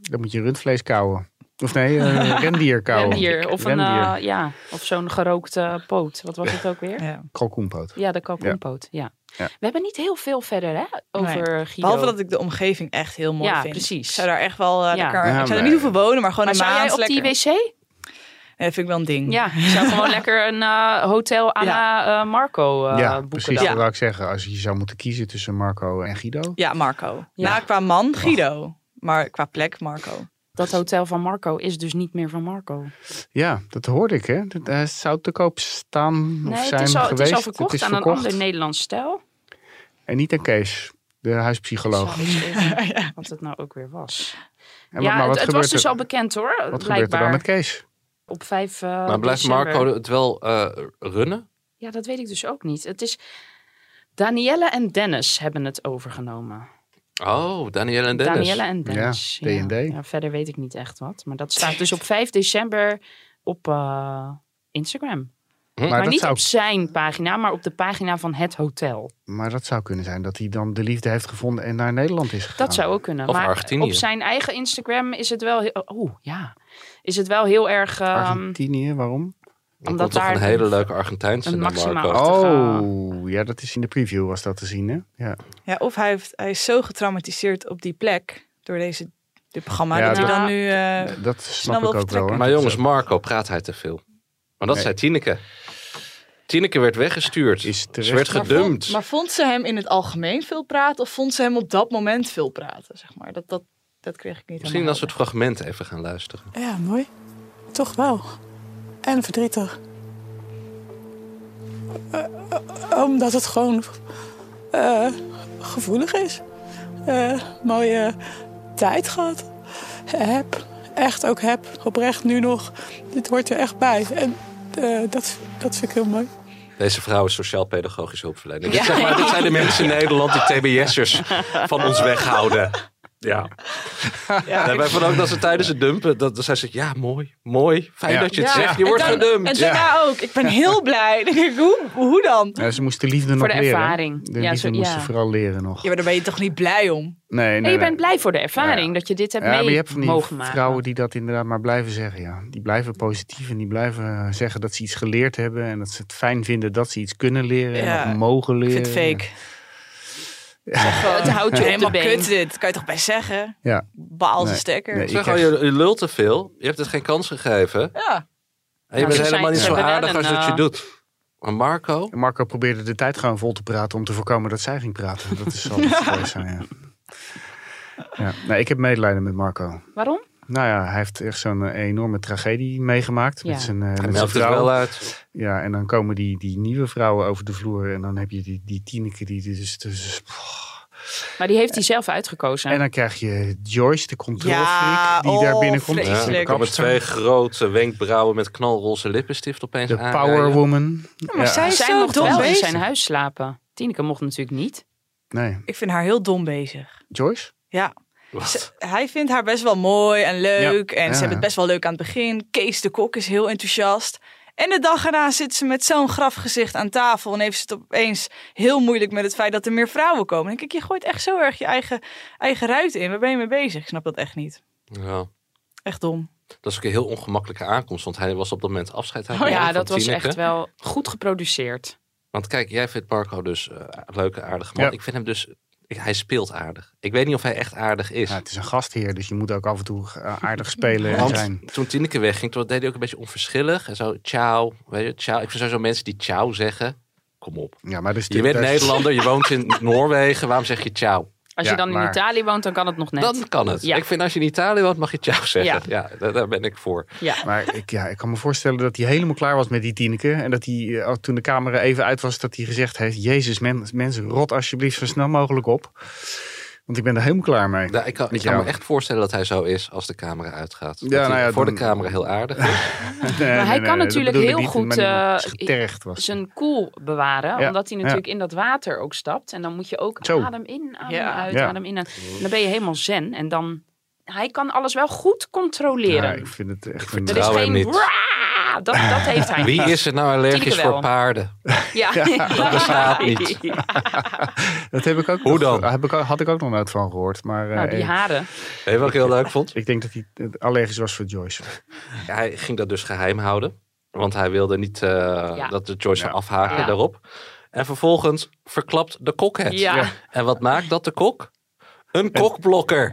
E: Dan moet je rundvlees kouwen. Of nee, eh rendier kouwen.
G: Rendier, of, een,
E: Rendier.
G: eh, ja, of zo'n gerookte poot. Wat was het ook weer?
I: Ja.
E: Kalkoenpoot.
G: Ja, de kalkoenpoot. Ja.
E: Ja.
G: We hebben niet heel veel verder hè, over
I: Nee.
G: Guido.
I: Behalve dat ik de omgeving echt heel mooi
G: Ja,
I: vind.
G: precies.
I: Ik zou daar echt wel eh,
G: Ja.
I: lekker...
E: Ja,
I: ik zou er
E: maar-
I: niet hoeven wonen, maar gewoon
G: maar
I: een
G: zou jij
I: maand
G: op
I: lekker...
G: die wc?
I: Nee, dat vind ik wel een ding.
G: Ja, je zou gewoon lekker een eh, hotel à la eh, Marco eh,
E: ja,
G: boeken
E: precies.
G: dan.
E: Dat wou ik zeggen. Als je zou moeten kiezen tussen Marco en Guido.
I: Ja, Marco.
G: Ja.
I: Nou, qua man Guido. Maar qua plek Marco.
G: Dat hotel van Marco is dus niet meer van Marco.
E: Ja, dat hoorde ik, hè? Dat, eh, zou te koop staan of
G: Nee,
E: zijn
G: het is, al,
E: geweest.
G: het is al verkocht
E: Het is
G: aan
E: verkocht.
G: een ander Nederlands stel.
E: En niet aan Kees, de huispsycholoog.
G: Sorry, even, Wat het nou ook weer was.
E: En
G: ja,
E: maar wat
G: het, het
E: gebeurt
G: was dus
E: er-
G: al bekend hoor.
E: Wat gebeurt er
G: blijkbaar.
E: dan met Kees?
G: Op 5 eh,
B: maar blijft
G: december.
B: Marco het wel eh, runnen?
G: Ja, dat weet ik dus ook niet. Het is... Danielle en Dennis hebben het overgenomen.
B: Oh, Danielle en Dennis.
G: Danielle en Dennis.
B: Ja, D&D.
G: Ja, verder weet ik niet echt wat. Maar dat staat dus op 5 december op eh, Instagram.
E: Maar
G: Hm? Maar,
E: dat
G: niet
E: zou-
G: op zijn pagina, maar op de pagina van het hotel.
E: Maar dat zou kunnen zijn dat hij dan de liefde heeft gevonden en naar Nederland is gegaan.
G: Dat zou ook kunnen.
E: Ah. Of
G: maar
E: Argentinië.
G: op zijn eigen Instagram is het wel heel, oh, ja. is het wel heel erg... ehm,
E: Argentinië, waarom?
G: omdat daar
B: een hele leuke Argentijnse
G: een
B: naar Marco.
G: eh.
E: Oh, ja, dat is in de preview was dat te zien, hè? Ja.
I: Ja, of hij, heeft, hij is zo getraumatiseerd op die plek door deze, dit programma
B: Ja,
I: dat hij
B: dat-
I: dan nu... eh,
E: Dat
I: snap ik wel ook wel, hoor.
B: Maar jongens, Marco praat hij te veel. Maar dat
E: Nee.
B: zei Tineke. Tineke werd weggestuurd. Ze werd
I: Maar
B: gedumpt.
I: vond- Maar vond ze hem in het algemeen veel praten of vond ze hem op dat moment veel praten? Zeg maar? dat, dat, dat kreeg ik niet
B: Misschien als we het fragment even gaan luisteren.
L: Ja, mooi. Toch wel. En verdrietig. Eh, eh, omdat het gewoon eh, gevoelig is. Eh, mooie tijd gehad. Heb. Echt ook heb. Oprecht nu nog. Dit hoort er echt bij. En eh, dat, dat vind ik heel mooi.
B: Deze vrouw is sociaal-pedagogisch hulpverlener. Dit, zijn maar, dit zijn de mensen in Nederland die TBS'ers van ons weghouden. Ja. Nee, wij vonden ook dat ze tijdens het dumpen... Dat, dat zij zegt, ja, mooi, mooi. Fijn dat je het zegt. Je wordt
I: en dan-
B: gedumpt.
I: En daarna ook. Ik ben heel blij. Dan denk ik, hoe, hoe dan?
E: Ja, ze moest de liefde nog
I: de
E: leren.
I: ervaring.
E: De
I: Ja,
E: liefde
I: zo-
E: moest
I: ja.
E: ze vooral leren nog.
I: Ja, maar daar ben je toch niet blij om?
E: Nee, nee,
G: Nee, je
E: nee.
G: bent blij voor de ervaring dat je dit hebt
E: ja,
G: mee
E: maar je hebt van die
G: mogen maken.
E: vrouwen die dat inderdaad maar blijven zeggen. Ja. Die blijven positief en die blijven eh, zeggen dat ze iets geleerd hebben. En dat ze het fijn vinden dat ze iets kunnen leren
I: Ja,
E: en nog mogen
I: ik
E: leren.
I: vind het fake.
G: Het houdt je op de
I: helemaal
G: been.
I: kut dit. Kan je toch bij zeggen?
E: Ja.
I: Baal
B: Nee.
I: de stekker.
B: Ik zeg al, je, je lult te veel. Je hebt het geen kans gegeven.
I: Ja.
B: En je
E: Nou,
B: bent
E: ze
B: helemaal
E: zijn-
B: niet
E: ze
B: zo
E: hebben wel
B: aardig als
E: een,
B: dat je
I: nou.
E: eh,
B: doet. Maar Marco?
E: Marco probeerde de tijd gewoon vol te praten om te voorkomen dat zij ging praten. Dat is zal het geweest zijn, ja. ja. Nou, ik heb medelijden met Marco.
G: Waarom?
E: Nou ja, hij heeft echt zo'n eh, enorme tragedie meegemaakt
G: Ja.
E: met zijn, eh,
B: Hij
E: met zijn
B: meldt het
E: vrouw.
B: wel uit.
E: Ja, en dan komen die, die nieuwe vrouwen over de vloer. En dan heb je die, die Tineke die dus... dus
G: Maar die heeft hij zelf uitgekozen.
E: en dan krijg je Joyce, de controlfreak,
G: Ja,
E: die daar
G: oh,
E: binnenkomt.
B: Ja, er komen twee grote wenkbrauwen met knalroze lippenstift opeens
E: De
B: aan.
E: Power Woman.
G: maar
E: Ja.
G: zij,
I: is zo
G: mocht
I: dom
G: wel in
I: bezig.
G: zijn huis slapen. Tineke mocht natuurlijk niet.
E: Nee.
I: Ik vind haar heel dom bezig.
E: Joyce?
I: Ja. Ze- hij vindt haar best wel mooi en leuk.
E: Ja.
I: En
E: Ja.
I: ze hebben het best wel leuk aan het begin. Kees de Kok is heel enthousiast. En de dag erna zit ze met zo'n grafgezicht aan tafel. En heeft ze het opeens heel moeilijk met het feit dat er meer vrouwen komen. Kijk, je gooit echt zo erg je eigen, eigen ruit in. Waar ben je mee bezig? Ik snap dat echt niet.
B: Ja.
I: Echt dom.
B: Dat is ook een heel ongemakkelijke aankomst, want hij was op dat moment afscheid aan het
G: Oh
B: nemen
G: ja,
B: van
G: dat was
B: Tineke.
G: echt wel goed geproduceerd.
B: Want kijk, jij vindt Marco dus eh, een leuke, aardige man.
E: Ja.
B: Ik vind hem dus, ik- hij speelt aardig. Ik weet niet of hij echt aardig is.
E: Ja, het is een gastheer, dus je moet ook af en toe eh, aardig spelen en
B: Want
E: zijn.
B: toen Tineke wegging, toen deed hij ook een beetje onverschillig. En zo, ciao, weet je, ciao. Ik vind sowieso mensen die ciao zeggen, kom op.
E: Ja, maar dus
B: Je bent Nederlander, je woont in Noorwegen, waarom zeg je ciao?
G: Als je dan in Italië woont, dan kan het nog net.
B: Dan kan het.
G: Ja.
B: Ik vind als je in Italië woont, mag je ciao zeggen. Ja, daar, daar ben ik voor.
G: Ja.
E: Maar ik, ja, ik kan me voorstellen dat hij helemaal klaar was met die Tineke. En dat hij, eh, toen de camera even uit was, dat hij gezegd heeft... Jezus, men- mensen, rot alsjeblieft zo snel mogelijk op. Want ik ben er helemaal klaar mee.
B: Ja, ik kan, ik
E: Met
B: kan
E: jou.
B: me echt voorstellen dat hij zo is als de camera uitgaat.
E: Ja,
B: Dat hij
E: nou ja,
B: voor de
E: dan-
B: camera heel aardig is.
G: maar hij kan natuurlijk heel goed eh,
E: getergd was.
G: zijn koel bewaren.
E: Ja,
G: Omdat hij
E: ja.
G: natuurlijk in dat water ook stapt. En dan moet je ook
E: Zo.
G: adem in, adem
I: Ja.
G: uit,
E: Ja.
G: adem in. En dan ben je helemaal zen. En dan... Hij kan alles wel goed controleren.
E: Ja, ik vind het echt een...
G: er is
B: vertrouw hem
G: geen...
B: niet.
G: "Waa!" Dat, dat heeft hij
B: Wie
G: niet.
B: is er nou allergisch
G: Tineke wel.
B: voor paarden?
G: Ja.
B: Dat bestaat niet.
E: Dat heb ik ook Hoe dan? heb ik, ook- had ik ook nog nooit van gehoord. Maar, eh,
G: Nou, die
E: eh,
G: haren.
B: Weet je wat ik heel leuk vond?
E: Ik denk dat hij eh, allergisch was voor Joyce.
B: Hij ging dat dus geheim houden. Want hij wilde niet eh, dat de Joyce zou afhaken
E: Ja.
B: daarop. En vervolgens verklapt de kok het.
G: Ja. Ja.
B: En wat maakt dat de kok? Een kokblokker.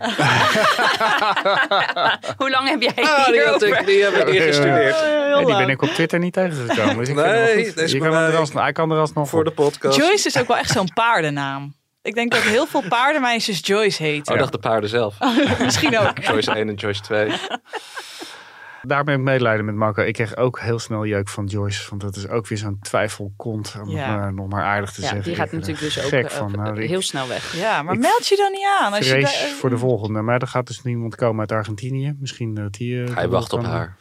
G: Hoe lang heb jij
B: Ah, die, had ik,
G: hierover?
B: die heb ik ingestudeerd.
E: En die ben ik op Twitter niet tegengekomen. Dus ik vind
B: Nee,
E: hem wel goed.
B: deze
E: Je kan
B: bewijs.
E: hem er alsnog- hij kan er alsnog
B: Voor de podcast.
I: Joyce is ook wel echt zo'n paardennaam. Ik denk dat heel veel paardenmeisjes Joyce heten.
B: Oh, dacht de paarden zelf.
I: Misschien ook.
B: Joyce 1 en Joyce 2.
E: Daar ben ik medelijden met Marco. Ik kreeg ook heel snel jeuk van Joyce. Want dat is ook weer zo'n twijfelkont. Om
I: Ja.
E: het maar- nog maar aardig te
G: Ja,
E: zeggen.
G: die gaat
E: Ik ben er
G: natuurlijk dus ook
E: gek
G: eh,
E: van. Nou, ik
G: heel snel weg.
I: Ja, maar meld je dan niet aan. Als je
E: vrees
I: daar-
E: voor de volgende. Maar er gaat dus niemand komen uit Argentinië. Misschien dat die... eh,
B: Hij
E: dat
B: wacht
E: kan-
B: op haar.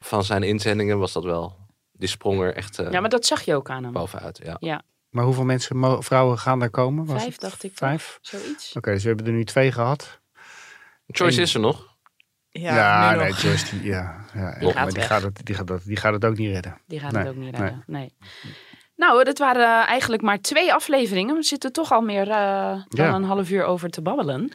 B: van zijn inzendingen was dat wel. Die sprong er echt eh,
G: Ja, maar dat zag je ook aan hem.
B: bovenuit. Ja.
G: Ja,
E: Maar hoeveel mensen, mo- vrouwen gaan daar komen? Was
G: vijf
E: het?
G: dacht ik. toch?
E: Vijf?
G: Zoiets.
E: Oké, dus we hebben er nu twee gehad.
B: Choice
E: En-
B: is er nog.
E: Ja,
G: nu
E: nee,
G: nog.
E: Joyce, die, ja, ja,
G: Die gaat
E: maar die
G: weg.
E: gaat, het, die, gaat dat, die gaat het ook niet redden.
G: Die gaat
E: Nee,
G: het ook niet redden. Nee. Nou, dat waren eh, eigenlijk maar twee afleveringen. We zitten toch al meer eh, dan
E: Ja.
G: een half uur over te babbelen.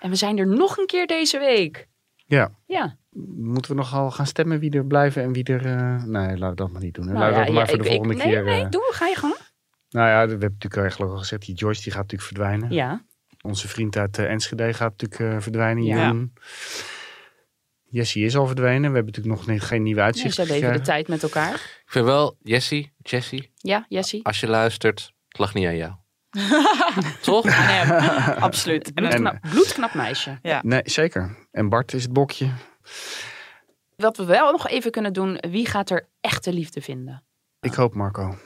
G: En we zijn er nog een keer deze week.
E: Ja.
G: Ja.
E: Moeten we nogal gaan stemmen wie er blijven en wie er... eh, Nee, laten we dat maar niet doen. hè.
G: Nou
E: laten we
G: ja,
E: dat maar
G: ja,
E: voor
G: ik-
E: de
G: ik-
E: volgende
G: nee,
E: keer...
G: Nee,
E: eh,
G: doe, ga je gang.
E: Nou ja, we hebben natuurlijk eigenlijk al gezegd, die Joyce die gaat natuurlijk verdwijnen.
G: Ja.
E: Onze vriend uit eh, Enschede gaat natuurlijk eh, verdwijnen,
G: Ja.
E: Jeroen. Jesse is al verdwenen. We hebben natuurlijk nog niet, geen nieuwe
G: Nee,
E: uitzicht
G: ze leven de tijd met elkaar.
B: Ik vind wel, Jessie, Jessie,
G: Ja, Jessie.
B: als je luistert, het lag niet aan jou.
G: Toch?
I: absoluut.
G: En een
E: En-
G: knap, bloedknap meisje.
I: Ja.
E: Nee, zeker. En Bart is het bokje.
G: Wat we wel nog even kunnen doen, wie gaat er echte liefde vinden?
E: Ik hoop Marco.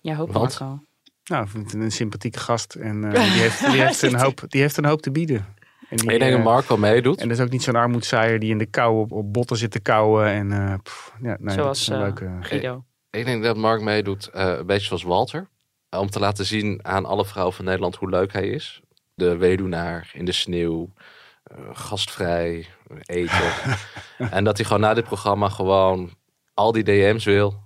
G: Jij hoopt
E: Want?
G: Marco.
E: Nou, ik vind het een sympathieke gast. En eh, die, heeft, die, heeft een hoop, die heeft een hoop te bieden. En die,
B: ik denk dat
E: eh,
B: Marco meedoet.
E: En dat is ook niet zo'n armoedzaaier die in de kou op, op botten zit te kauwen En, eh, pff, ja, nee, dat
G: Zoals
E: is een
G: eh,
E: leuke...
G: Guido.
B: Ik denk dat Mark meedoet eh, een beetje zoals Walter. Eh, Om te laten zien aan alle vrouwen van Nederland hoe leuk hij is. De weduwnaar in de sneeuw. eh, gastvrij. Eten. en dat hij gewoon na dit programma gewoon al die DM's wil.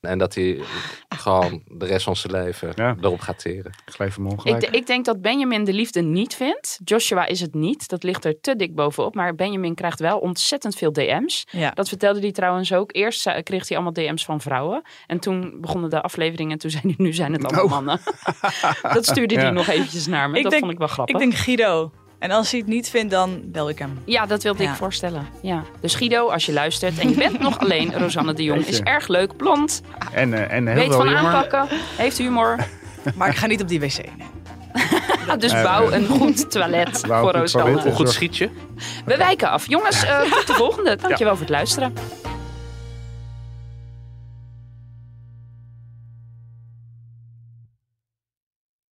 B: En dat hij gewoon de rest van zijn leven erop gaat teren.
E: Ik geef hem
G: Ik, ik denk dat Benjamin de liefde niet vindt. Joshua is het niet. Dat ligt er te dik bovenop. Maar Benjamin krijgt wel ontzettend veel DM's.
I: Ja.
G: Dat vertelde hij trouwens ook. Eerst eh, kreeg hij allemaal DM's van vrouwen. En toen begonnen de afleveringen. En toen zei hij, nu zijn het allemaal mannen. dat stuurde hij
I: Ja.
G: nog eventjes naar me. dat vond ik wel grappig.
I: Ik denk Guido. En als hij het niet vindt, dan bel ik hem.
G: Ja, dat wilde ik voorstellen. Ja. Dus Guido, als je luistert en je bent nog alleen. Rosanne de Jong is
E: Jeetje.
G: erg leuk, blond.
E: En, eh, en heel
G: weet
E: wel
G: van
E: jammer.
G: aanpakken, heeft humor.
I: Maar ik ga niet op die wc.
G: dus
E: Eh,
G: bouw
E: eh,
G: een goed toilet
E: wou
G: voor
E: een goed
G: Rosanne.
E: toilet, Een goed
B: schietje.
G: We wijken af. Jongens, eh, tot de volgende. Dankjewel voor het luisteren.